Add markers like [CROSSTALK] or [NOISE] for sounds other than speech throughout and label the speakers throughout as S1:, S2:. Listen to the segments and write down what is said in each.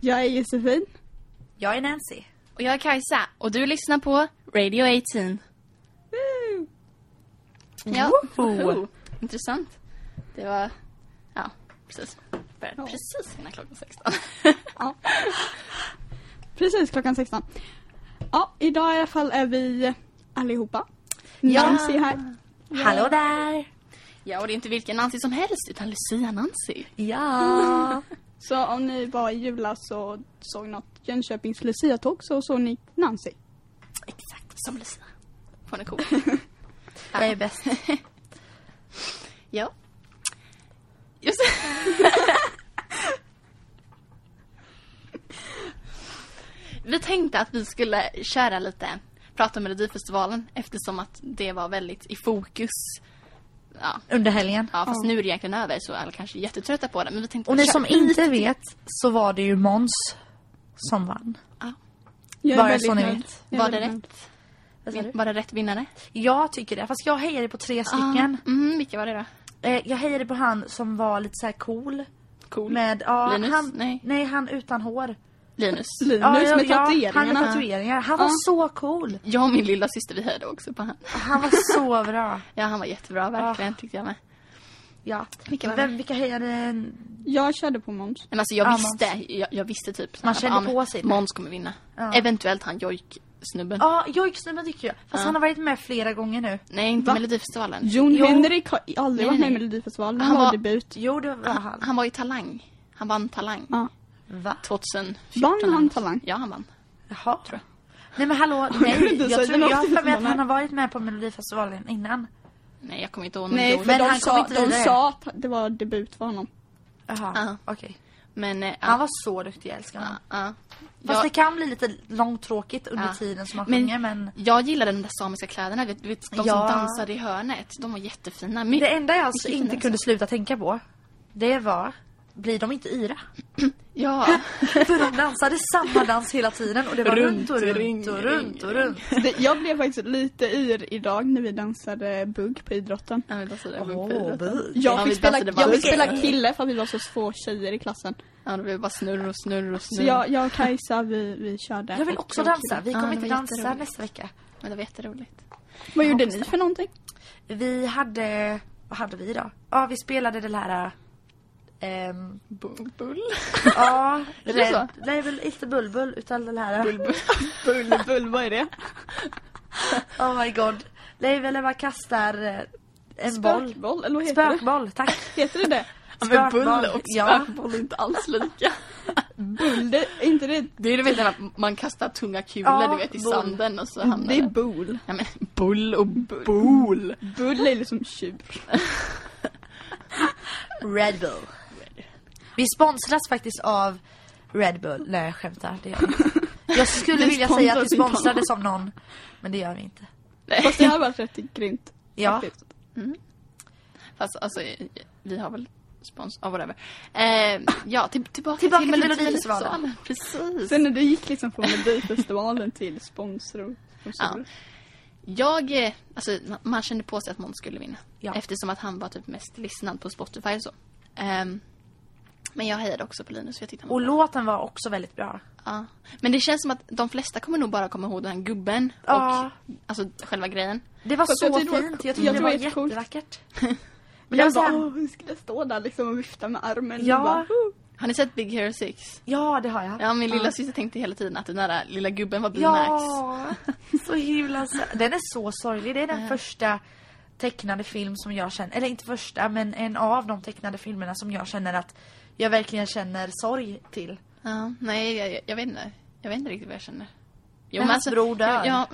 S1: Jag är Josefin.
S2: Jag är Nancy.
S3: Och jag är Kajsa och du lyssnar på Radio 18. Ja. Woho. [LAUGHS] Intressant. Det var, ja, precis. Började precis innan klockan 16.
S1: Precis klockan 16. Ja, idag i alla fall är vi allihopa.
S3: Ja.
S1: Nancy är här.
S2: Hallå där!
S3: ja, och det är inte vilken Nancy som helst utan Lucia Nancy.
S2: Ja!
S1: Så om ni var i julas och såg något Jönköpings Lucia-tåg så såg ni Nancy.
S3: Exakt, som Lucia. Hon är cool.
S2: [LAUGHS] Jag är bäst.
S3: [LAUGHS] ja. Just [LAUGHS] Vi tänkte att vi skulle köra lite, prata om Melodifestivalen eftersom att det var väldigt i fokus. Ja,
S2: [LAUGHS] Under helgen.
S3: ja fast nu är det egentligen över så alla kanske är jättetrötta på det. Men vi tänkte
S2: Och ni
S3: köra-
S2: som inte vet så var det ju Måns som vann.
S1: Jag är
S2: Bara
S1: väldigt
S2: så ni
S1: nöjd.
S2: vet.
S1: Jag är
S3: Var det
S1: väldigt nöjd.
S3: rätt? Vin- Var det rätt vinnare?
S2: Jag tycker det, fast jag hejade på tre stycken.
S3: Ah, mm, vilka var det då?
S2: Eh, jag hejade på han som var lite så här cool.
S3: Cool.
S2: Med, ja,
S3: Linus?
S2: Han,
S3: Nej.
S2: nej, han utan hår.
S3: Linus.
S1: Linus
S2: Ja, ja,
S1: med
S2: ja, Han med Ah.
S1: tatueringarna.
S2: tatueringar. Han var
S1: Ja.
S2: så cool.
S3: Jag och min lilla syster vi hörde också på han.
S2: Han var så [LAUGHS] bra.
S3: Ja, han var jättebra verkligen
S2: Ah.
S3: tyckte jag med.
S2: Ja.
S3: Vilka var det?
S2: Vem, vilka hejade?
S1: jag körde på Måns.
S3: Men alltså jag
S2: Ja,
S3: visste, jag, jag visste typ så
S2: Ah, Man
S3: här,
S2: kände
S3: ja, men
S2: på sig. Ah.
S3: Måns kommer vinna.
S2: Ja.
S3: Eventuellt han jojk-snubben.
S2: Ja, jojksnubben tycker jag. Fast
S3: Ja.
S2: han har varit med flera gånger nu.
S3: Nej, inte
S1: Va?
S3: Melodifestivalen.
S1: Jon
S2: Jo.
S1: Henrik har aldrig
S3: Nej,
S1: varit med i
S3: nej.
S1: Melodifestivalen. Han
S3: Han
S1: var
S3: var-
S1: debut.
S2: Jo, det var han.
S3: Han var ju Talang. Han vann Talang.
S2: Ah.
S1: Ja.
S2: Va?
S3: 2014.
S1: Vann han
S3: eller-
S1: Talang?
S3: Ja, han vann.
S2: Jaha. Nej men hallå,
S1: kunde
S2: nej.
S1: inte
S2: Jag,
S1: säga
S2: tror,
S1: något
S2: jag har för mig att
S1: innan.
S2: han har varit med på Melodifestivalen innan.
S3: Nej, jag kommer inte ihåg
S1: Nej,
S3: någon
S1: för
S3: men,
S2: Men
S1: de,
S2: han kom
S1: sa,
S2: inte
S1: de
S2: vidare.
S1: sa att det var debut för honom.
S2: Jaha,
S3: Ja.
S2: okej.
S3: men eh, ja.
S2: Han var så duktig, jag älskar honom.
S3: ja, ja.
S2: Fast
S3: Jag-
S2: det kan bli lite långtråkigt under
S3: Ja.
S2: tiden som han
S3: Men-
S2: sjunger men...
S3: Jag gillade de där samiska kläderna, vet, vet, de
S2: Ja.
S3: som dansade i hörnet. De var jättefina. My-
S2: Det enda jag alltså
S3: Vilken
S2: inte
S3: fin
S2: kunde sluta tänka på, det var, blir de inte yra? [LAUGHS]
S3: Ja,
S2: För de dansade samma dans hela tiden och det var runt,
S3: Runt,
S2: och runt
S3: ring,
S2: och runt och runt.
S1: Det, jag blev faktiskt lite yr idag när vi dansade bugg på idrotten.
S3: ja men dansade
S2: Åh,
S3: runt på idrotten.
S2: bugg.
S1: Jag
S3: Ja,
S1: fick,
S3: vi
S1: spela,
S3: dansade
S1: jag fick
S3: vals.
S1: spela kille för att vi var så få tjejer i klassen.
S3: Ja, det blev bara snurr och snurr och
S1: Så
S3: snurr.
S1: jag, jag och Kajsa vi, vi körde.
S2: Jag vill
S1: och
S2: också
S1: det var
S2: dansa,
S1: kul.
S2: vi
S3: Ja,
S2: kommer
S3: det
S2: inte
S3: var
S2: dansa
S3: jätteroligt.
S2: nästa vecka.
S3: Men det var jätteroligt.
S1: Vad gjorde ni för någonting?
S2: Vi hade, vad hade vi då? Ja, vi spelade det här... ehm,
S3: Bull.
S2: Ja,
S3: Är det
S2: red, nej väl inte Bulbul utan den här.
S1: [LAUGHS] Bull, bull, vad är det?
S2: Oh my god. Nej väl när man kastar eh, en boll.
S1: Spökboll, eller vad heter
S2: Spökboll, tack.
S1: det? Heter det det?
S3: Ja, men
S2: Spökboll,
S3: Alltså, bull och
S2: ja.
S3: spökboll är inte alls lika.
S1: Bull, det, är inte det?
S3: Det är du vet när man kastar tunga kulor
S2: Ja,
S3: du vet i
S2: bull.
S3: sanden och så hamnar
S1: Det är
S3: det.
S1: bull.
S3: Ja, men bull och bull.
S1: Bull är liksom tjur.
S2: Red Bull. Vi sponsras faktiskt av Red Bull. Nej jag skämtar, det gör vi inte. Jag skulle
S1: Vi
S2: vilja säga att vi
S1: sponsras inte av någon.
S2: sponsrades av någon. Men det gör vi inte.
S1: Fast det hade varit rätt grymt.
S2: Ja.
S1: faktiskt.
S3: Fast alltså vi har väl spons, ja whatever. Eh, ja, till, tillbaka,
S2: Tillbaka till
S3: Melodifestivalen.
S2: Melodifestivalen.
S3: Precis.
S1: Sen när du gick liksom från Melodifestivalen till sponsor. sponsorer.
S3: Jag, eh, alltså ma- man kände på sig att Måns skulle vinna.
S2: Ja.
S3: Eftersom att han var typ mest lyssnad på Spotify och så. Ehm, men jag hejade också på Linus för jag tyckte han var
S2: Och
S3: bra.
S2: låten var också väldigt bra.
S3: Ja. Men det känns som att de flesta kommer nog bara komma ihåg den här gubben
S2: Ja.
S3: och alltså själva grejen.
S2: Det var
S1: Fast
S2: så
S1: jag tyckte det var-
S2: fint, jag tyckte
S1: jag
S2: det
S1: tror
S2: var
S1: det är jättecoolt.
S2: jättevackert. Men
S1: [LAUGHS] Men
S2: det var
S1: jag
S2: så
S1: bara,
S2: här,
S1: åh, hur skulle jag stå där liksom och vifta med armen?
S2: Ja.
S1: Och bara, "Woo."
S3: Har ni sett Big Hero 6?
S2: ja det har jag.
S3: Ja, min lilla syster tänkte hela tiden att den där lilla gubben var Bill Max.
S2: Ja, [LAUGHS] så himla sö- Den är så sorglig. Det är den första tecknade film som jag känner, eller inte första men en av de tecknade filmerna som jag känner att jag verkligen känner sorg till.
S3: Ja, nej, jag, jag, jag vet inte. Jag vet inte riktigt vad jag känner. Jo, alltså,
S2: När hans bror dör.
S3: Ja,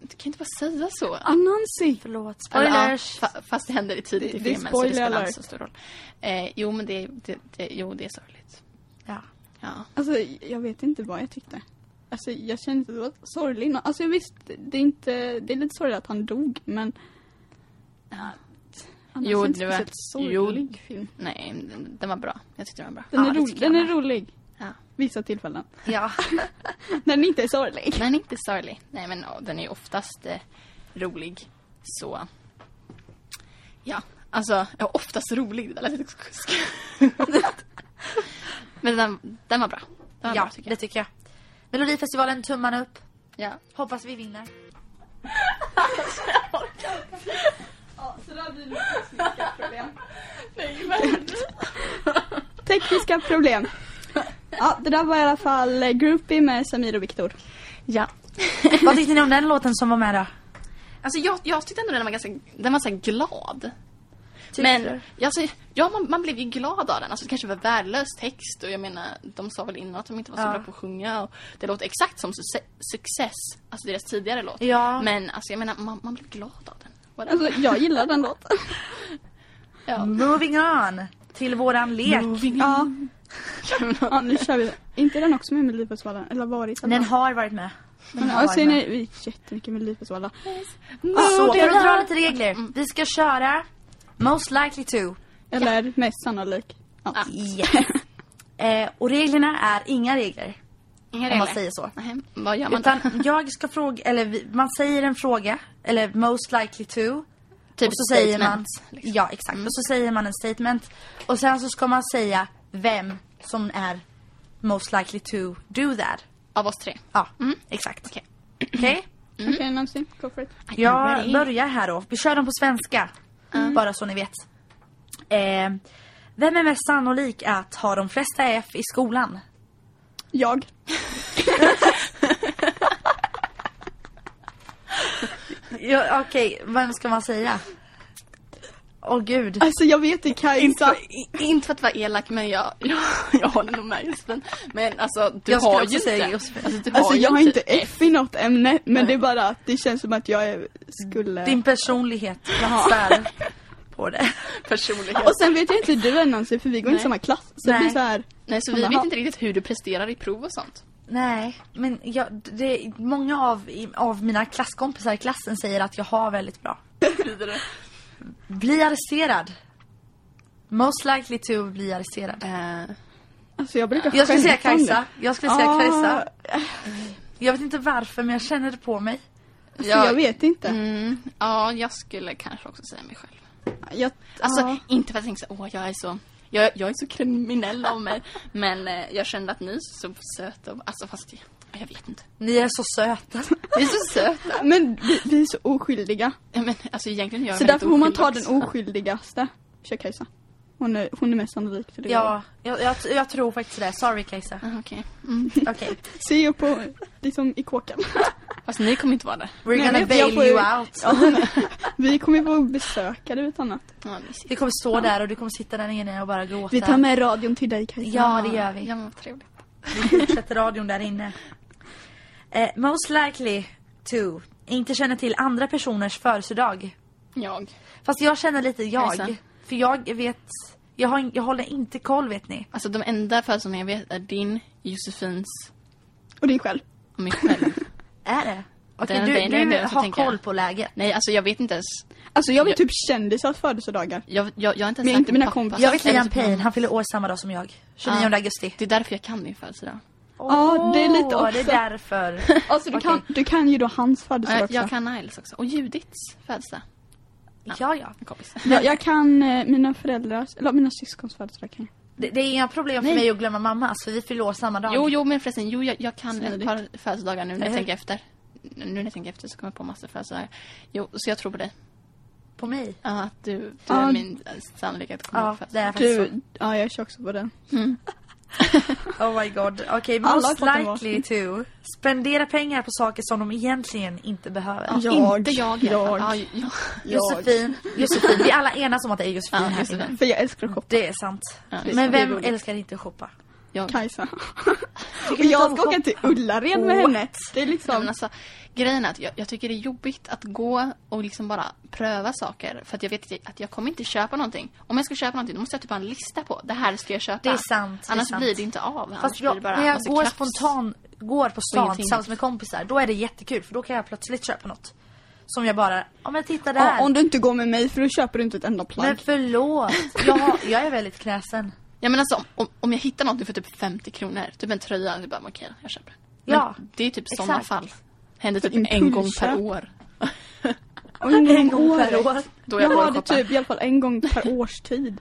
S3: du kan inte bara säga så.
S1: Anansi!
S2: Förlåt,
S3: Eller, ja,
S2: spoilers!
S3: fa- fast det händer i tidigt
S1: Det-
S3: i
S1: det är
S3: filmen så det
S1: spoiler
S3: spelar inte
S1: alert.
S3: så stor roll. Eh, jo, men det, det, det, jo, det är sorgligt.
S2: Ja.
S3: Ja.
S1: Alltså jag vet inte vad jag tyckte. Alltså jag kände inte att det var sorgligt. Alltså visst, det är, inte, det är lite sorgligt att han dog men annars
S3: Jo,
S1: är det inte
S3: det var-
S1: speciellt sorglig film.
S3: Nej, den, den var bra. Jag tyckte den var bra.
S1: Den,
S2: Ja,
S1: är,
S2: det
S1: rolig,
S2: tycker jag
S1: den är
S2: med.
S1: rolig.
S3: Ja.
S1: Vissa tillfällen.
S2: ja.
S1: När den inte är
S3: [LAUGHS]
S1: sorglig.
S3: Men inte sorglig. Nej, men ja, den är ju oftast eh, rolig. Så... Ja, alltså, ja, [LAUGHS] oftast rolig. Det där lät lite sk- sk- Men den, den var bra. Det
S2: [LAUGHS]
S3: var
S2: ja,
S3: bra, tycker jag.
S2: det tycker jag. Melodifestivalen, tummarna upp.
S3: Ja.
S2: Hoppas vi vinner.
S1: Ja, så där blir det tekniska [LAUGHS] problem. tekniska problem. Ja, det där var i alla fall Groupie med Samir och Viktor.
S3: ja.
S2: [LAUGHS] Vad tyckte ni om den låten som var med då?
S3: Alltså jag, jag tyckte ändå den var ganska, den var så här glad.
S2: Tyckte
S3: Men
S2: du?
S3: alltså, ja, man, man blev ju glad av den. Alltså, det kanske var värdelös text och jag menar, de sa väl innan att de inte var så
S2: Ja.
S3: bra på att sjunga. Och det låter exakt som suce- Success, alltså deras tidigare låt.
S2: Ja.
S3: Men alltså, jag menar, man, man blev glad av den. Whatever.
S1: Alltså, jag gillar den
S2: [LAUGHS]
S1: låten.
S3: Ja.
S2: Moving on till våran lek.
S1: Ja. ja, nu kör vi. Inte den också med Melodifestivalen? Eller varit?
S2: Den har varit med. Den
S1: Ja,
S2: har
S1: jag
S2: varit
S1: ser
S2: med.
S1: ni, vi gick jättemycket Melodifestivalen.
S3: Ah,
S2: Så för att dra
S3: Ja.
S2: lite
S3: Mm.
S2: regler. Vi ska köra Most likely to.
S1: Eller mest sannolik. Ja.
S3: Ja.
S2: Yes. [LAUGHS] eh, och reglerna är inga regler.
S3: Inga
S2: Om man
S3: regler.
S2: säger så.
S3: Nej, vad gör man
S2: Utan
S3: då?
S2: jag ska fråga, eller vi, man säger en fråga, eller most likely to.
S3: Typ
S2: och så säger man,
S3: statement, liksom.
S2: Ja, exakt. Och så säger man en statement. Och sen så ska man säga vem som är most likely to do that.
S3: Av oss tre.
S2: Ja, exakt.
S3: Mm. Okej.
S2: Okej?
S1: Okej, Nancy, go for it.
S3: Aj,
S2: Jag
S3: ready?
S2: börjar här då. Vi kör dem på svenska. Bara så ni vet. Eh, vem är mest sannolik att ha de flesta F i skolan?
S1: Jag.
S2: Ja, Okej, vem ska man säga? Åh gud.
S1: Alltså jag vet det
S3: Inte
S1: Kajsa. Alltså,
S3: för, i- inte för att vara elak men jag, [LAUGHS] jag, jag håller nog med Josefin. Men alltså du
S2: Jag skulle
S3: har
S2: också
S3: ju
S2: säga
S3: inte.
S2: Josefin.
S3: Alltså, du har
S1: Alltså
S3: ju
S1: jag har inte F i något ämne men det är bara att det känns som att jag är- skulle...
S2: Din personlighet platsar [LAUGHS] på det.
S3: personlighet.
S1: Och sen vet jag inte hur du är Nancy för vi går inte
S3: Nej.
S1: i samma klass. Så det
S2: Nej.
S1: blir så här.
S3: Nej så vi
S1: Jaha.
S3: vet inte riktigt hur du presterar i prov och sånt.
S2: Nej, men jag, det, många av, av mina klasskompisar i klassen säger att jag har väldigt bra.
S3: Vidare.
S2: Bli arresterad. Most likely to bli arresterad.
S3: Eh,
S1: Alltså jag brukar
S2: Jag skulle säga
S1: skämta om det.
S2: Kajsa. Jag skulle säga
S1: Ah.
S2: Kajsa. Jag vet inte varför men jag känner det på mig.
S1: Alltså, jag vet inte.
S3: Mm, ja, jag skulle kanske också säga mig själv.
S1: Jag,
S3: Alltså
S1: ja.
S3: inte för att tänka så, åh jag är så, jag, jag är så kriminell av mig. Men eh, jag kände att ni är så söta och, alltså fast jag, jag vet inte.
S2: Ni är så söta.
S3: Ni är så söta.
S1: Men vi, vi är så oskyldiga.
S3: Ja, Men alltså egentligen gör jag
S1: Så
S3: mig
S1: därför
S3: lite
S1: får man ta
S3: oskyldig
S1: den
S3: också.
S1: oskyldigaste. Kör Kajsa. Hon är, hon är mest sannolik för det.
S2: [LAUGHS] Ja, jag, jag, jag tror faktiskt det. Sorry [LAUGHS] Kajsa.
S3: Ah, Okej. Mm.
S2: Okej.
S1: Ser ju på, liksom i kåken.
S3: Fast ni kommer inte vara där.
S2: We're
S1: Nej,
S2: gonna
S1: men jag
S2: bail
S1: får-
S2: you out.
S1: [LAUGHS] Vi kommer ju få besökare utan annat.
S3: Ja, mysigt.
S2: Vi kommer stå där och du kommer sitta där inne och bara gråta.
S1: Vi tar med radion till dig Kajsa.
S2: Ja, det gör vi.
S3: Ja, men vad trevligt.
S2: Vi fortsätter radion där inne. Eh, most likely to inte känner till andra personers födelsedag.
S3: Jag.
S2: Fast jag känner lite
S3: Kajsa.
S2: jag. För jag vet... Jag, har, jag håller inte koll vet ni.
S3: Alltså de enda födelsedagarna jag vet är din, Josefins
S1: Och din själv.
S3: och min själv.
S2: Är det? Okej,
S3: Den-
S2: du,
S3: den- den-
S2: du
S3: den- så
S2: har
S3: tänker jag.
S2: koll på läget.
S3: Nej, alltså jag vet inte ens.
S1: Alltså jag vet
S3: Jag-
S1: typ kändisars födelsedagar. Alltså,
S3: Jag, jag, jag har inte ens
S1: Men
S3: sagt
S1: inte
S3: min
S1: mina
S3: pappas
S1: kompisar.
S2: Jag vet
S3: eller
S2: Liam
S3: typ
S2: Payne,
S3: någon-
S2: han fyller år samma dag som jag. 29
S3: Ja.
S2: augusti.
S3: Det är därför jag kan din födelsedag.
S1: Ja, det är lite
S2: Åh,
S1: också.
S2: Det
S1: [LAUGHS]
S2: är därför.
S1: Alltså du,
S2: Okej.
S1: kan, du kan ju då hans födelsedag
S3: Äh,
S1: också.
S3: jag kan Niles också. Och Judiths födelsedag.
S2: Ja, ja.
S3: En kompis.
S1: jag, jag kan eh, mina föräldrars, eller mina syskons födelsedag kan jag.
S2: Det, det är inga problem för
S3: Nej.
S2: mig att glömma mammas för vi fyller år samma dag.
S3: Jo, jo, men förresten. Jo, jag, jag kan ett
S1: Smidigt.
S3: par födelsedagar nu när jag
S2: Eller hur?
S3: tänker efter. Nu när jag tänker efter så kommer jag på massa födelsedagar. Jo, så jag tror på dig.
S2: På mig.
S3: Ja, att du, du
S1: Ja.
S3: är min eh, sannolikhet att Mm. komma
S2: Ja,
S3: ihåg
S2: det är
S3: födelsedagar.
S2: faktiskt så.
S1: Du, ja jag kör också på den.
S2: Oh my god. Okej,
S1: Alla
S2: most
S1: har fått en
S2: likely to spendera pengar på saker som de egentligen inte behöver.
S1: Ja.
S3: Ja,
S1: Jag,
S3: inte jag i alla fall.
S1: jag.
S3: Ja, ja.
S2: Josefin, Josefin. Vi alla enas om att det är Josefin
S3: Ja,
S2: här
S3: Josefin.
S2: inne.
S1: För jag älskar att shoppa.
S2: Det är sant.
S3: Ja, det är
S2: Men
S3: sant.
S2: vem
S1: Det är roligt.
S2: älskar inte att shoppa?
S3: jag.
S2: [LAUGHS]
S1: Kajsa. Och
S2: du inte om
S1: jag ska
S2: shoppa?
S1: åka till Ullared med
S2: What?
S1: henne. Det är
S3: Ja, men
S1: liksom,
S3: alltså, grejen är att jag, jag tycker det är jobbigt att gå och liksom bara pröva saker. För att jag vet att jag kommer inte köpa någonting. Om jag ska köpa någonting då måste jag typ ha en lista på. Det här ska jag köpa.
S2: Det är sant, det är
S3: Annars
S2: sant.
S3: blir det inte av.
S2: Fast
S3: Annars blir det
S2: jag,
S3: bara
S2: när jag
S3: massa
S2: går
S3: krafs.
S2: spontan, går på stan
S3: ingenting.
S2: tillsammans med kompisar, då är det jättekul för då kan jag plötsligt köpa något. Som jag bara, om jag tittar där.
S1: ja, om du inte går med mig för då köper du inte ett enda plagg.
S2: Men förlåt, jag, har, jag är väldigt [LAUGHS] kräsen.
S3: Ja men alltså om- om, om jag hittar någonting för typ 50 kronor. Typ en tröja. Det är bara okej, jag köper den. Men
S2: Ja,
S3: Det är typ sådana
S2: exakt.
S3: fall. Händer typ en
S1: Impulsköp.
S3: gång per år.
S1: Och en gång om året.
S2: per år.
S3: Då
S1: jag
S2: typ
S3: jag
S1: har
S3: börjar
S1: det
S3: shoppa.
S1: typ i alla fall en gång per års tid.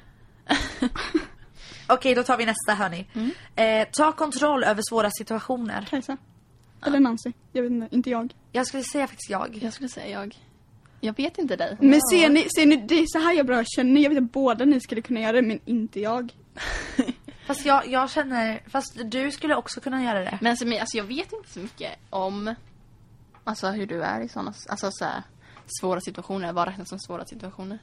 S2: Okej, då tar vi nästa hörni.
S3: Mm.
S2: Eh, ta kontroll över svåra situationer.
S1: Kajsa. Eller Nancy. Jag vet inte, inte jag.
S2: Jag skulle säga faktiskt jag.
S3: Jag skulle säga jag. Jag vet inte dig.
S1: Men ser ni, ser ni, det är så här jag bra känner. Jag vet att båda ni skulle kunna göra det, men inte jag.
S2: Fast jag, jag känner, fast du skulle också kunna göra det.
S3: Men alltså, alltså jag vet inte så mycket om alltså, hur du är i sådana alltså, så här, svåra situationer. Vad räknas som svåra situationer?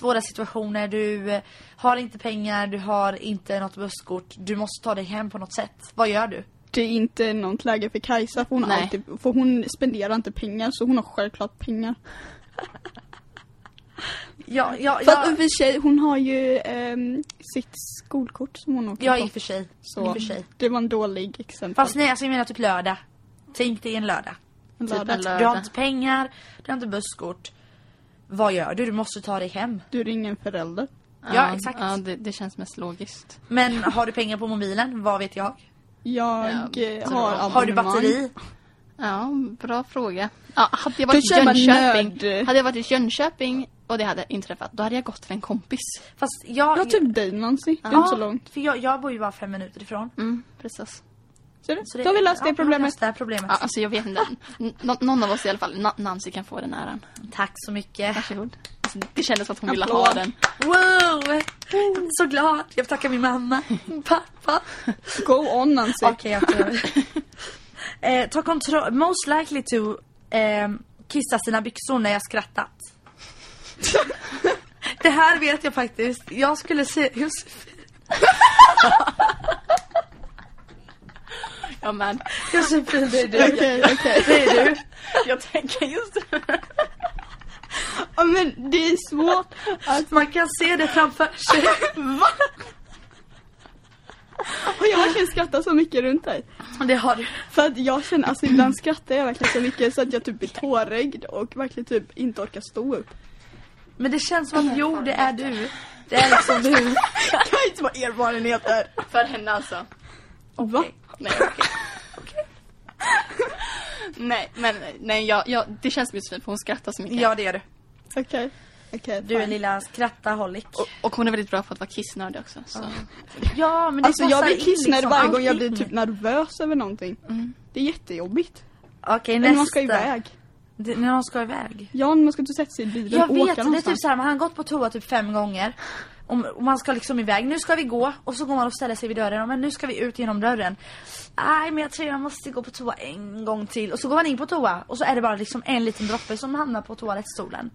S2: Svåra situationer, du eh, har inte pengar, du har inte något busskort. Du måste ta dig hem på något sätt. Vad gör du?
S1: Det är inte något läge för Kajsa för hon, har
S3: Nej.
S1: alltid, för hon spenderar inte pengar så hon har självklart pengar.
S2: Ja, ja,
S1: För att i och
S2: jag,
S1: för sig, hon har ju ehm, sitt skolkort som hon åker
S2: ja,
S1: på.
S2: i och för sig.
S1: så
S2: i och för sig.
S1: det var en dålig exempel.
S2: Fast nej, alltså jag menar typ lördag. Tänk dig en lördag. Alltså,
S1: En
S3: typ en
S1: lördag.
S3: lördag.
S2: Du har inte pengar, du har inte busskort. Vad gör du? Du måste ta dig hem.
S1: Du ringer en förälder.
S2: Ja, exakt.
S3: Ja, det, det känns mest logiskt.
S1: [LAUGHS]
S2: Men har du pengar på mobilen? Vad vet jag?
S1: Jag
S3: Ja,
S1: eh,
S3: så
S1: har
S3: bra.
S2: Har du
S1: abonnemang.
S2: batteri?
S3: Ja, bra fråga. Ja, hade jag
S1: Då
S3: varit i
S1: kör man
S3: Jönköping,
S1: nörd.
S3: hade jag varit i Jönköping och det hade inträffat, då hade jag gått till en kompis.
S2: Fast jag...
S1: Jag har typ dig Nancy, det är inte så långt.
S2: För jag, jag bor ju bara fem minuter ifrån.
S3: Mm, precis.
S1: Ser du?
S2: Så det-
S1: Då har vi löst
S2: ja,
S1: det problemet.
S2: Löst det här problemet.
S3: Ja, alltså jag vet inte. N- nå- någon av oss i alla fall. Na- Nancy kan få den äran.
S2: Tack så mycket.
S3: Varsågod. Alltså, det kändes som att hon ville
S1: Applåd.
S3: ha den.
S2: Wow! Jag är så glad. Jag tackar min mamma, min pappa.
S1: Go on Nancy.
S2: Okej, jag tror... eh, ta kontroll. Most likely to ehm, kissa sina byxor när jag skrattat. [LAUGHS] det här vet jag faktiskt. Jag skulle säga Josefin.
S3: Ja, men.
S2: Josefin, det är du. [LAUGHS]
S1: Okej, okej.
S2: Det är du.
S3: Jag tänker just
S1: Ja, Men det är svårt.
S2: Att man kan se det framför sig. Va?
S1: Och jag kan skratta så mycket runt dig.
S2: Det har du.
S1: För att jag känner, alltså ibland skrattar jag verkligen så mycket så att jag typ blir tårögd och verkligen typ inte orkar stå upp.
S2: Men det känns som att jo, det är du. Det är liksom du.
S1: Jag har inte vad erfarenheter.
S3: För henne alltså.
S1: Va?
S3: Nej, okej. [LAUGHS] nej, men nej, jag, jag, det känns som Josefin för hon skrattar så mycket.
S2: Ja, det är du.
S1: Okej. Okej,
S2: Du är
S1: fine.
S2: lilla skrattaholic.
S3: Och, och hon är väldigt bra på att vara kissnörd också. Så.
S2: Ja, men det
S1: Alltså jag
S2: passar
S1: blir
S2: in
S1: kissnödig
S2: liksom
S1: varje gång jag
S2: allting.
S1: blir typ nervös över någonting. Det är jättejobbigt.
S2: Okej,
S1: När
S2: nästa.
S1: man ska iväg.
S2: Det, när någon ska iväg.
S1: Ja, men man ska inte sätta sig i bilen
S2: Jag
S1: och åka
S2: vet, det är
S1: någonstans.
S2: typ såhär, man har gått på toa typ fem gånger. Om, och man ska liksom iväg, nu ska vi gå. Och så går man och ställer sig vid dörren, och men nu ska vi ut genom dörren. Nej men jag tror jag måste gå på toa en gång till. Och så går man in på toa, och så är det bara liksom en liten droppe som hamnar på toalettstolen.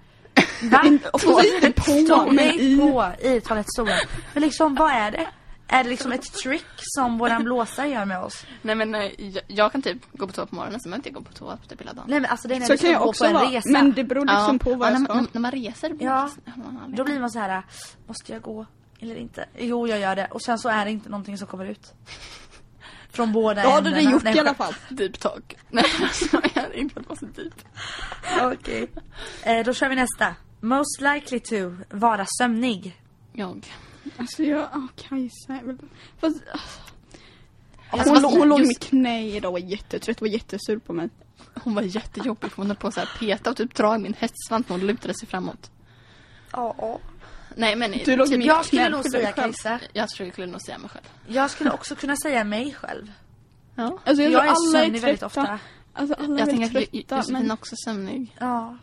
S2: Va?
S1: Och så är det på,
S2: Stå-
S1: men
S2: nej,
S1: i.
S2: på i toalettstolen. Men liksom, vad är det? Är det liksom ett trick som våran blåsare gör med oss?
S3: Nej men nej, jag, jag kan typ gå på toa på morgonen så behöver inte jag gå på toa typ hela dagen.
S2: Nej men alltså det är när
S1: Så
S2: vi
S1: kan
S2: ska
S1: jag
S2: gå på
S1: också
S2: en
S1: vara.
S2: resa.
S1: Men det beror liksom på vad
S3: ja,
S1: jag
S3: när,
S1: ska.
S3: man- när, när man reser blir
S2: Ja.
S3: kiss- har man aldrig-
S2: Då blir man så här, måste jag gå eller inte? Jo, jag gör det. Och sen så är det inte någonting som kommer ut. Från båda
S1: Då har du det
S2: ändarna.
S1: gjort
S2: Nej,
S1: i alla fall.
S3: deep talk. [LAUGHS] Nej alltså jag hade inte varit så deep.
S1: [LAUGHS]
S2: Okej. Eh, då kör vi nästa. Most likely to vara sömnig.
S3: Jag.
S1: Alltså jag, ja Kajsa är väl... Fast,
S3: Alltså,
S1: hon,
S3: fast-
S1: hon låg i
S3: just-
S1: mitt knä idag och var jättetrött och var jättesur på mig.
S3: Hon var jättejobbig för hon höll på så här peta och typ dra i min hästsvans när hon lutade sig framåt.
S2: Ja.
S3: Nej men
S1: Du låg i
S3: typ,
S1: mitt
S2: Jag skulle
S1: knä,
S2: nog
S1: skyll dig
S2: säga
S1: själv.
S2: Kajsa.
S3: jag tror jag skulle nog säga mig själv.
S2: Jag skulle också kunna säga mig själv.
S3: Ja.
S1: Alltså jag,
S2: Jag
S1: tror
S2: är
S1: alla är
S2: sömnig väldigt
S1: trötta.
S2: ofta.
S1: Alltså alla
S3: Jag
S1: är
S3: tänker att
S1: väldigt
S3: Jo-
S1: trötta.
S3: Josefin
S1: Men
S3: också är sömnig.
S2: Ja.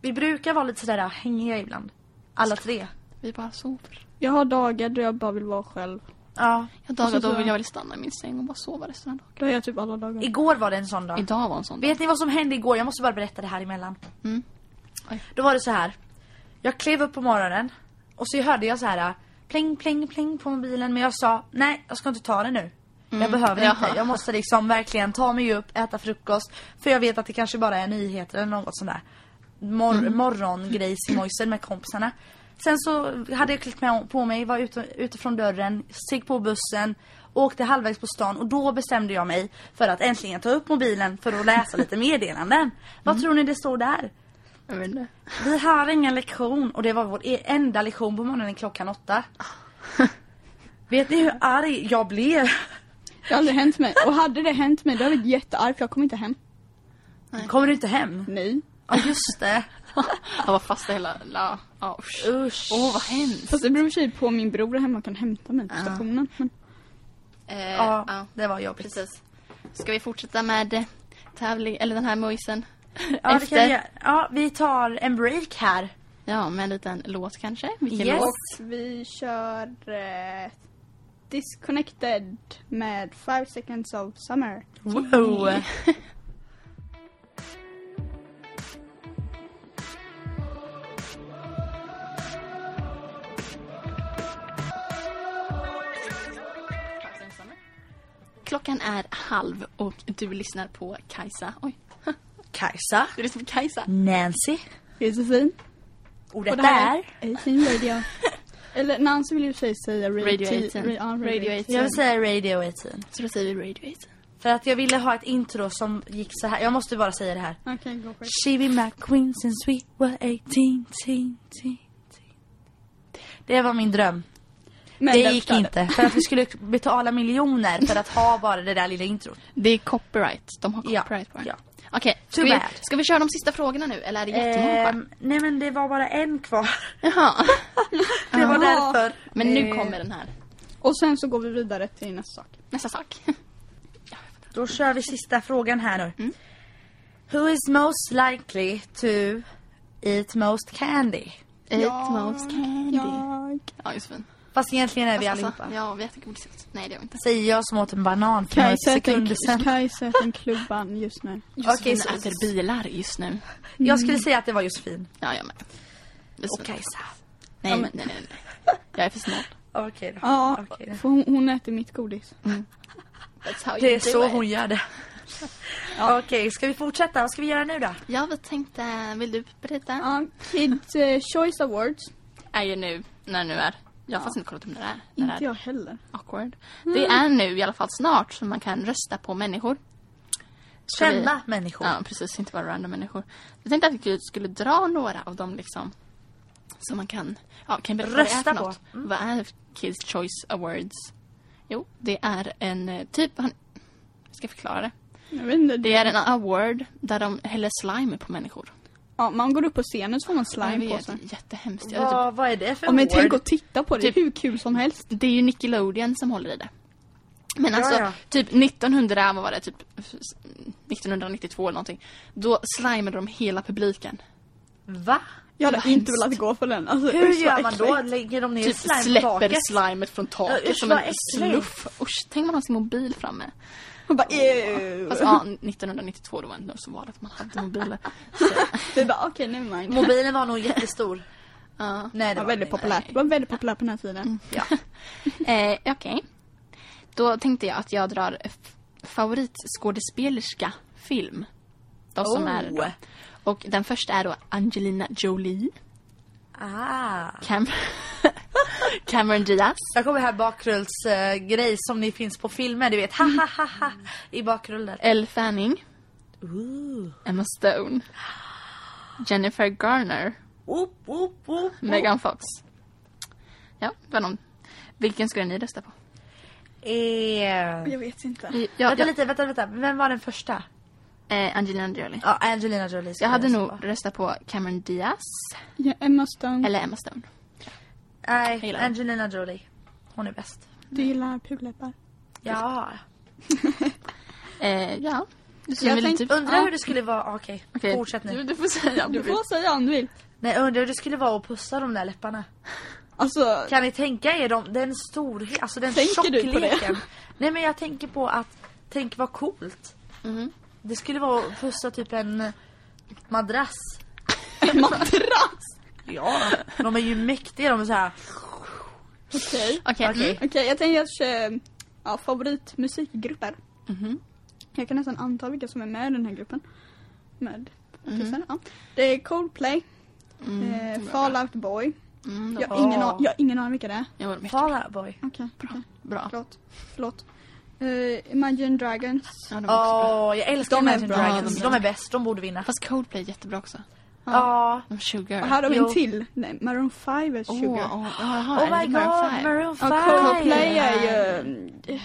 S2: Vi brukar vara lite sådär hängiga ibland. Alla tre.
S3: Vi bara sover.
S1: jag har dagar då jag bara vill vara själv.
S2: Ja.
S3: Jag
S1: Och
S3: dagar
S1: så
S3: då
S1: så-
S3: vill jag väl stanna i min säng och bara sova resten av dagen.
S1: Då har jag typ alla dagar.
S2: Igår var det en sån dag.
S3: Idag var en sån dag.
S2: Vet ni vad som hände igår? Jag måste bara berätta det här emellan.
S3: Mm. Oj.
S2: Då var det så här. Jag klev upp på morgonen och så hörde jag så här pling pling pling på mobilen men jag sa nej jag ska inte ta det nu. Jag behöver
S3: Jaha.
S2: inte. Jag måste liksom verkligen ta mig upp, äta frukost. För jag vet att det kanske bara är nyheter eller något sånt där. Mor- Morgongrejsimojsen med kompisarna. Sen så hade jag klätt med- på mig, var ute, ute från dörren, steg på bussen, åkte halvvägs på stan och då bestämde jag mig för att äntligen ta upp mobilen för att läsa lite meddelanden. Vad tror ni det stod där?
S3: Jag vet inte.
S2: Vi har ingen lektion och det var vår e- enda lektion på morgonen klockan [LAUGHS] åtta. Vet ni hur arg jag blev?
S1: Det har aldrig hänt mig. Och hade det hänt mig då hade jag blivit jättearg för jag kom inte hem.
S2: Kommer du inte hem?
S1: Nej.
S2: [LAUGHS] Ja just det.
S3: Han var fast i hela... La, ja, usch.
S2: Usch.
S3: Åh, vad hemskt.
S1: Fast det beror i och för sig på om min bror är hemma och kan hämta mig på
S3: Ja.
S1: stationen. Men
S3: Eh,
S2: Ja,
S3: ja,
S2: det var jobbigt.
S3: precis. Ska vi fortsätta med eh, tävling, eller den här mojsen?
S2: Ja, det
S3: Efter.
S2: kan vi, göra. ja, vi tar en break här.
S3: Ja, med en liten låt kanske. Vilken
S2: Yes.
S3: låt?
S1: Och vi kör eh, Disconnected med Five seconds of summer.
S3: [LAUGHS]
S2: Wow.
S3: Klockan är halv och du lyssnar på Kajsa. Oj,
S2: Kajsa.
S3: du lyssnar på Kajsa.
S2: Nancy.
S1: Josefin.
S2: Och detta
S1: Och det här
S2: är...
S1: är 18 radio. [LAUGHS] Eller Nancy vill ju i och för sig säga Radio, 18.
S3: Radio 18.
S1: Ra- ja, radio 18.
S2: Jag vill säga Radio 18.
S3: Så då säger vi Radio 18.
S2: För att jag ville ha ett intro som gick så här. Jag måste bara säga det här.
S1: Okej, go for it.
S2: She be my queen since we were 18, teen, teen, teen. Det var min dröm.
S1: Men
S2: det
S1: den
S2: gick
S1: förstörde.
S2: inte. För att vi skulle betala miljoner för att ha bara det där lilla introt.
S3: Det är copyright. De har
S2: Ja,
S3: copyright på den.
S2: ja.
S3: Okej, ska
S2: Too
S3: vi,
S2: bad.
S3: ska vi köra de sista frågorna nu eller är det jättemånga kvar?
S2: Ehm, nej men det var bara en kvar. [LAUGHS]
S3: [LAUGHS] Jaha.
S2: Det var
S1: Jaha.
S2: därför.
S3: Men nu
S2: Ehm,
S3: kommer den här.
S1: Och sen så går vi vidare till nästa sak.
S3: Nästa sak. [LAUGHS]
S2: Då kör vi sista frågan här nu. Who is most likely to eat most candy?
S3: Eat
S1: Jag-
S3: most candy. Ja,
S1: Jag...
S3: Josefin.
S2: Fast egentligen är vi
S3: Alltså,
S2: allihopa.
S3: Ja, vi äter godis. Nej, det gör vi inte.
S2: Säger jag som åt en banan för några
S1: Kajsa äter
S2: sekunder
S1: en-
S2: sedan.
S1: Kajsa äter en klubban just nu.
S3: Josefin
S2: så-
S3: äter bilar just nu.
S2: Jag skulle säga att det var Josefin.
S3: alltså. Ja, jag med. Josefin.
S2: Och Kajsa.
S3: Nej,
S1: Ja, men-
S3: nej, nej, nej. Jag är för snål.
S2: Okej då.
S1: Ja,
S2: Okej.
S1: för hon, hon äter mitt godis.
S3: That's how
S2: Det
S3: you
S2: är
S3: do
S2: så
S3: it.
S2: hon gör [LAUGHS] det. Okej, ska vi fortsätta? Vad ska vi göra nu då?
S3: Ja, vi tänkte... Vill du berätta?
S1: Ja, Kids eh, Choice Awards.
S3: Är ju nu, när nu är. Jag har faktiskt inte kollat om det är. När det
S1: Inte
S3: är.
S1: jag heller.
S3: Awkward. Det är nu i alla fall snart som man kan rösta på människor. Ska vi-
S2: Kända människor.
S3: Ja, precis. Inte bara random människor. Jag tänkte att vi skulle dra några av dem liksom. Så man kan, ja, kan berätta vad det
S2: Rösta
S3: är för
S2: på. Mm.
S3: något. Vad är Kids Choice Awards? Jo, det är en eh, typ... Han, jag ska förklara det.
S1: Jag vet inte,
S3: Det är en award där de häller slime på människor.
S1: Ja, man går upp på scenen så får man slime
S3: jag
S1: på
S3: vet,
S1: sig.
S3: Jättehemskt. Jag vet inte-
S2: Vad, vad är det för
S1: Ja, men tänk
S2: ord?
S1: att titta på det,
S3: Typ-
S1: hur kul som helst.
S3: Det är ju Nickelodeon som håller i det. Men alltså,
S2: ja.
S3: typ 1900, vad var det? Typ 1992 eller någonting. Då slimade de hela publiken.
S2: Va?
S1: Jag
S3: Vad
S1: hade inte
S3: hemskt.
S1: velat gå på den. Alltså,
S2: Hur
S1: usch, vad
S2: gör man då?
S1: äckligt.
S2: Lägger de ner
S3: Typ
S2: slime på
S3: släpper
S2: taket?
S3: slimet från taket
S2: Ja, usch,
S3: som
S2: vad
S3: en
S2: äckligt.
S3: sluff. Usch, tänk om man har sin mobil framme.
S1: Man bara, ew.
S3: Fast
S2: [LAUGHS]
S3: ja, 1992 då var det ändå så var det att man hade mobiler. Så,
S1: Vi bara, okej, nevermind.
S2: Mobilen var nog jättestor.
S3: ja.
S2: Nej,
S1: Det var
S2: det
S1: väldigt
S2: var det inte.
S1: populärt. Det var väldigt populärt på den här tiden.
S3: Mm.
S2: Ja.
S3: [LAUGHS] Eh, Okej. Då tänkte jag att jag drar f- favoritskådespelerska film. De som
S2: Oh.
S3: är då. Och den första är då Angelina Jolie.
S2: Ah.
S3: Cam [LAUGHS] Cameron Diaz.
S2: Jag kommer här bakgrundsgrej som ni finns på filmer, du vet. Ha ha ha ha. I bakgrunden.
S3: Elle Fanning. Emma Stone. Jennifer Garner.
S2: Oop, oop, oop.
S3: Megan Fox. Ja, det var någon. Vilken skulle ni rösta på?
S2: Eh.
S1: Jag vet inte.
S3: Ja, ja,
S2: vänta lite, vänta, vänta. Vem var den första?
S3: eh, Angelina Jolie.
S2: Ja, Angelina Jolie. skulle
S3: Jag hade
S2: säga.
S3: nog röstat på Cameron Diaz
S1: Ja, Emma Stone,
S3: eller Emma Stone.
S2: Nej,
S3: gillar den.
S2: Angelina Jolie. Hon är bäst.
S1: du gillar puläppar.
S2: Ja.
S3: Eh, ja. Så
S1: Jag
S3: vill
S1: tänkte-
S3: typ-
S2: Undrar
S1: Ja.
S2: hur det skulle vara... ah, Okej,
S3: Okej,
S2: fortsätt
S3: Du,
S2: nu.
S3: du får säga. om
S1: Du
S3: vill.
S1: får säga om du vill.
S2: Nej, undrar hur det skulle vara att pussa de där läpparna.
S1: Alltså,
S2: Kan ni tänka er dem, den storhet, alltså den
S1: Tänker du på det?
S2: tjockleken? Nej men jag tänker på att, tänk vad coolt.
S3: Mhm.
S2: Det skulle vara att pussa typ en madrass.
S1: en madrass.
S2: Ja. De är ju mäktiga, de är såhär.
S1: Okej.
S3: Okej.
S2: Okej.
S3: Mm.
S1: Okej, jag tänker att jag kör, ja, favoritmusikgrupper.
S3: Mhm.
S1: Jag kan nästan anta vilka som är med i den här gruppen. Med artisterna. Ja. Det är Coldplay, eh, Fallout Boy.
S3: Mm, de-
S1: Jag har ingen,
S2: Åh.
S1: an- jag har ingen aning vilka det är.
S3: Jo, de är
S2: Fall Out Boy.
S1: Okej, okej.
S3: bra.
S1: Förlåt. Förlåt. Eh, Imagine Dragons.
S3: Ja, de är också bra.
S2: Åh, jag älskar
S1: De är
S2: Imagine
S1: bra,
S2: Dragons.
S3: de är
S2: De är bäst, de borde vinna.
S3: Fast Coldplay är jättebra också.
S2: Ja.
S3: De Sugar.
S1: Och här har vi en
S2: Jo.
S1: till. Nej, Maroon 5 är
S3: Åh,
S1: Sugar.
S3: åh, jaha,
S2: Oh
S3: är
S2: my
S3: det Maroon
S2: god,
S3: five?
S2: Maroon 5!
S1: Ja, Coldplay är ju...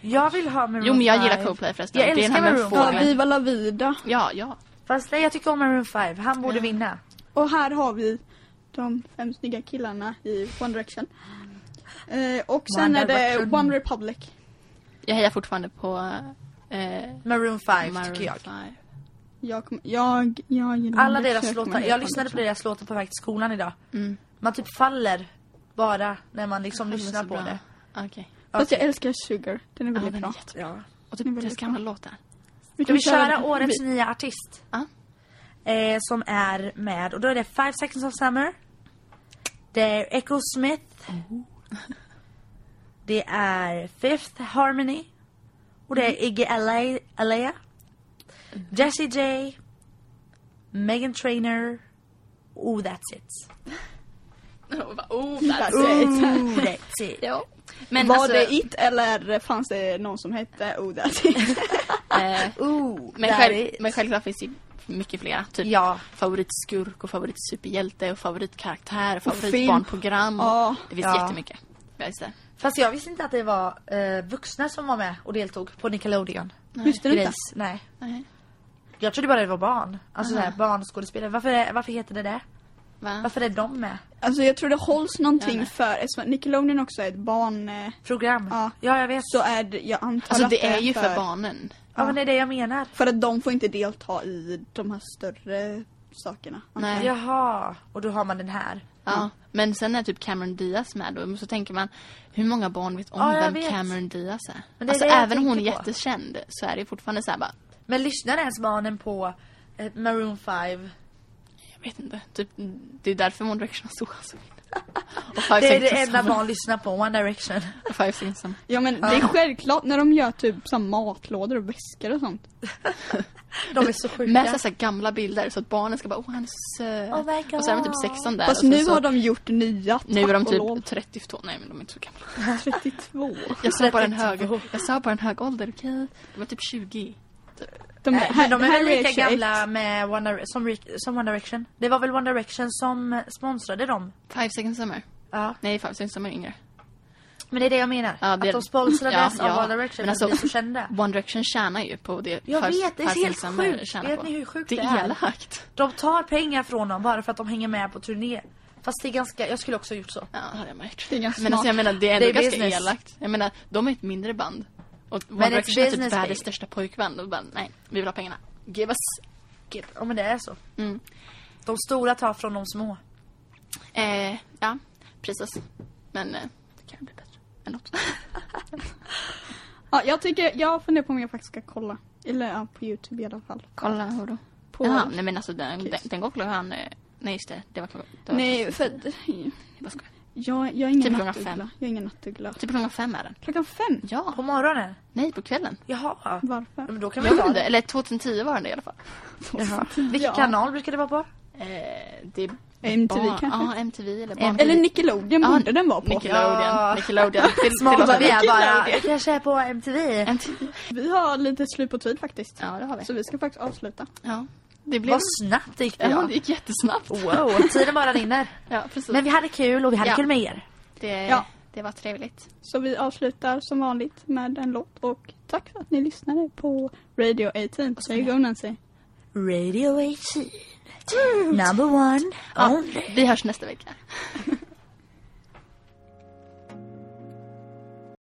S2: Jag vill ha Maroon
S3: Jo, men jag gillar
S2: five.
S3: Coldplay förresten.
S2: Jag
S3: Det är den
S2: älskar
S3: här med
S2: Maroon
S1: Ja,
S3: fågeln.
S2: five.
S1: Viva La Vida.
S3: Ja, ja.
S2: Fast nej, jag tycker om Maroon 5, han borde vinna.
S1: Och här har vi de fem snygga killarna i One Direction. Eh, och sen
S2: One
S1: är det
S2: Direction.
S1: One Republic.
S3: Jag hejar fortfarande på eh,
S2: Maroon 5
S3: Maroon Mm.
S2: tycker jag.
S3: 5.
S1: Jag, kom, jag, jag gillar
S2: Alla
S1: One
S2: deras
S1: Direction,
S2: låtar.
S1: men
S2: Jag lyssnade på deras låtar på väg till skolan idag. Man typ faller bara när man liksom
S3: Ja, men
S2: lyssnar
S3: så
S2: på
S3: bra.
S2: det.
S3: Okej.
S1: Fast jag älskar Sugar. Den är
S3: Ja,
S1: väldigt
S3: den är
S1: bra.
S3: jättebra.
S2: Ja.
S3: Och
S1: Den är
S3: typ
S1: väldigt
S3: deras gamla
S2: [LAUGHS]
S3: låtar.
S2: Ska vi köra årets
S1: vi-
S2: nya artist?
S3: Ja.
S2: Eh, som är med, och då är det Five Seconds of Summer. Det är Echo Smith. Oh. Det är Fifth Harmony. Och det är Iggy Ale- Alea. Mm. Jessie J. Megan Trainer. Oh, that's it.
S3: Och bara, Oh, that's it.
S2: Oh, [LAUGHS] that's it.
S3: Ja. Men
S1: Var
S3: alltså,
S1: det it eller fanns det någon som hette Oh [LAUGHS] that's it?
S3: eh,
S2: Oh,
S3: men,
S2: that
S3: själv,
S2: it.
S3: men självklart finns det ju mycket flera. Typ
S2: Ja.
S3: favoritskurk och favoritsuperhjälte och favoritkaraktär och
S1: film.
S3: favoritbarnprogram.
S1: Ja.
S3: Det finns
S2: Ja.
S3: jättemycket. Ja, just det.
S2: Fast jag visste inte att det var eh, vuxna som var med och deltog på Nickelodeon.
S1: Visste du inte?
S2: Grace, nej.
S3: Nej.
S2: Jag trodde bara det var barn. Alltså
S3: Aha.
S2: såhär barnskådespelare. Varför, är- varför heter det det?
S3: Va?
S2: Varför är de med?
S1: Alltså jag tror det hålls någonting
S3: Ja, nej.
S1: för eftersom Nickelodeon också är ett barn eh,
S2: Program?
S1: Ja.
S2: jag vet.
S1: så är det, jag antar
S3: Alltså
S1: att
S3: det är ju för barnen.
S2: Ja men det är det jag menar.
S1: För att de får inte delta i de här större sakerna.
S3: Nej.
S2: Jaha, och då har man den här.
S3: Ja. Men sen är typ Cameron Diaz med och så tänker man hur många barn vet om
S2: Ja, jag
S3: vem
S2: vet.
S3: Cameron Diaz är?
S2: Men det är
S3: alltså
S2: det jag
S3: även om hon är
S2: tänker på.
S3: jättekänd så är det fortfarande så här bara,
S2: Men lyssnar ens barnen på eh, Maroon 5?
S3: jag vet inte. Typ, det är därför One Direction har så alltså.
S2: [LAUGHS]
S3: Och
S2: Det är
S3: Five
S2: det
S3: Seconds
S2: enda
S3: of Summer.
S2: barn lyssnar på, One Direction.
S3: Och Five Seconds of Summer.
S1: Ja men det är självklart när de gör typ så här matlådor och väskor och sånt.
S2: De är så sjuka.
S3: Med så här gamla bilder så att barnen ska bara åh han är så söt.
S2: Oh my
S3: Och så är de
S2: God.
S3: typ 16 där.
S1: Fast
S3: och sen
S1: nu
S3: så,
S1: har de gjort nya, tack
S3: nu är de
S1: och lov.
S3: typ 32, nej men de är inte så gamla.
S1: 32.
S3: [LAUGHS] Jag sa bara en
S2: 32.
S3: hög, jag sa bara en hög ålder, okej? De var typ 20.
S1: De,
S2: Nej, men de är väl
S1: här
S2: lika
S1: 21.
S2: gamla med One, Dire- som, Rick- som One Direction? Det var väl One Direction som sponsrade dem?
S3: Five Seconds of Summer.
S2: Ja.
S3: Nej, Five Seconds of Summer är yngre.
S2: Men det är det jag menar.
S3: Ja, det-
S2: Att de sponsrades
S3: [LAUGHS] Ja,
S2: av
S3: ja.
S2: One Direction
S3: Men alltså-
S2: för att bli så kända.
S3: One Direction tjänar ju på det
S2: Jag
S3: Five-
S2: vet, det är
S3: Five
S2: helt
S3: Seconds of Summer
S2: sjukt.
S3: tjänar
S2: Vet
S3: på.
S2: ni hur sjukt
S3: det
S2: det
S3: är? Det är
S2: är?
S3: elakt.
S2: De tar pengar från dem bara för att de hänger med på turné. Fast det är ganska, jag skulle också ha gjort så.
S3: Ja, det hade jag märkt.
S1: Det är ganska
S3: men
S1: smart.
S3: alltså, jag menar, det är
S2: Det
S3: ändå
S2: är
S3: ganska
S2: business.
S3: elakt. Jag menar, de är ett mindre band. Och One
S2: it's
S3: Direction är typ
S2: business, baby.
S3: världens största pojkband. Och bara, nej, vi vill ha pengarna. Give us. Give.
S2: Ja men det är så.
S3: Mm.
S2: De stora tar från de små.
S3: Eh, ja, precis. Men eh, det kan bli bättre. Än något.
S1: Ja, jag tycker, jag funderar på om jag faktiskt ska kolla. Eller ja, på Youtube i alla fall.
S3: Kolla, hur då?
S1: På...
S3: Jaha, nej men alltså den,
S1: Kiss.
S3: den, den går klockan... Han, eh, nej just det, det var klockan... det var-
S1: Nej, för att-
S3: vad ska jag-
S1: jag, jag är ingen
S3: Typ klockan
S1: nattuggla.
S3: fem.
S1: Jag är ingen nattuggla.
S3: Typ klockan fem är den.
S1: Klockan fem?
S2: På
S3: Ja,
S2: morgonen?
S3: nej på kvällen.
S2: Jaha. Ja,
S1: Varför?
S2: Men då kan
S3: Jag
S2: man
S3: vet
S2: ta
S3: inte,
S2: det.
S3: eller 2010 var den det i alla fall.
S2: Jaha. Vilken
S1: Ja.
S2: kanal brukar det vara på?
S3: Eh, det är
S1: MTV
S3: barn-
S1: kanske?
S3: Ja, MTV eller barn.
S1: Eller Nickelodeon
S3: Ja,
S1: borde den vara på.
S3: Nickelodeon.
S2: Ja.
S3: Nickelodeon. Till,
S2: Smart
S3: till
S2: vad vi är bara.
S1: Nickelodeon.
S2: Det kanske är på MTV.
S3: MTV.
S1: Vi har lite slut på tid faktiskt.
S3: Ja, det har vi.
S1: Så vi ska faktiskt avsluta.
S3: Ja. Det blev...
S2: Vad snabbt det gick det
S3: Ja,
S2: ja.
S3: det gick jättesnabbt.
S2: Wow, tiden bara rinner.
S3: Ja, precis.
S2: Men vi hade kul och vi hade
S3: Ja.
S2: kul med er.
S3: det,
S1: Ja.
S3: det var trevligt.
S1: Så vi avslutar som vanligt med en låt och tack för att ni lyssnade på Radio 18. Say go Nancy.
S2: Radio 18. Number one. Only.
S3: Vi hörs nästa vecka.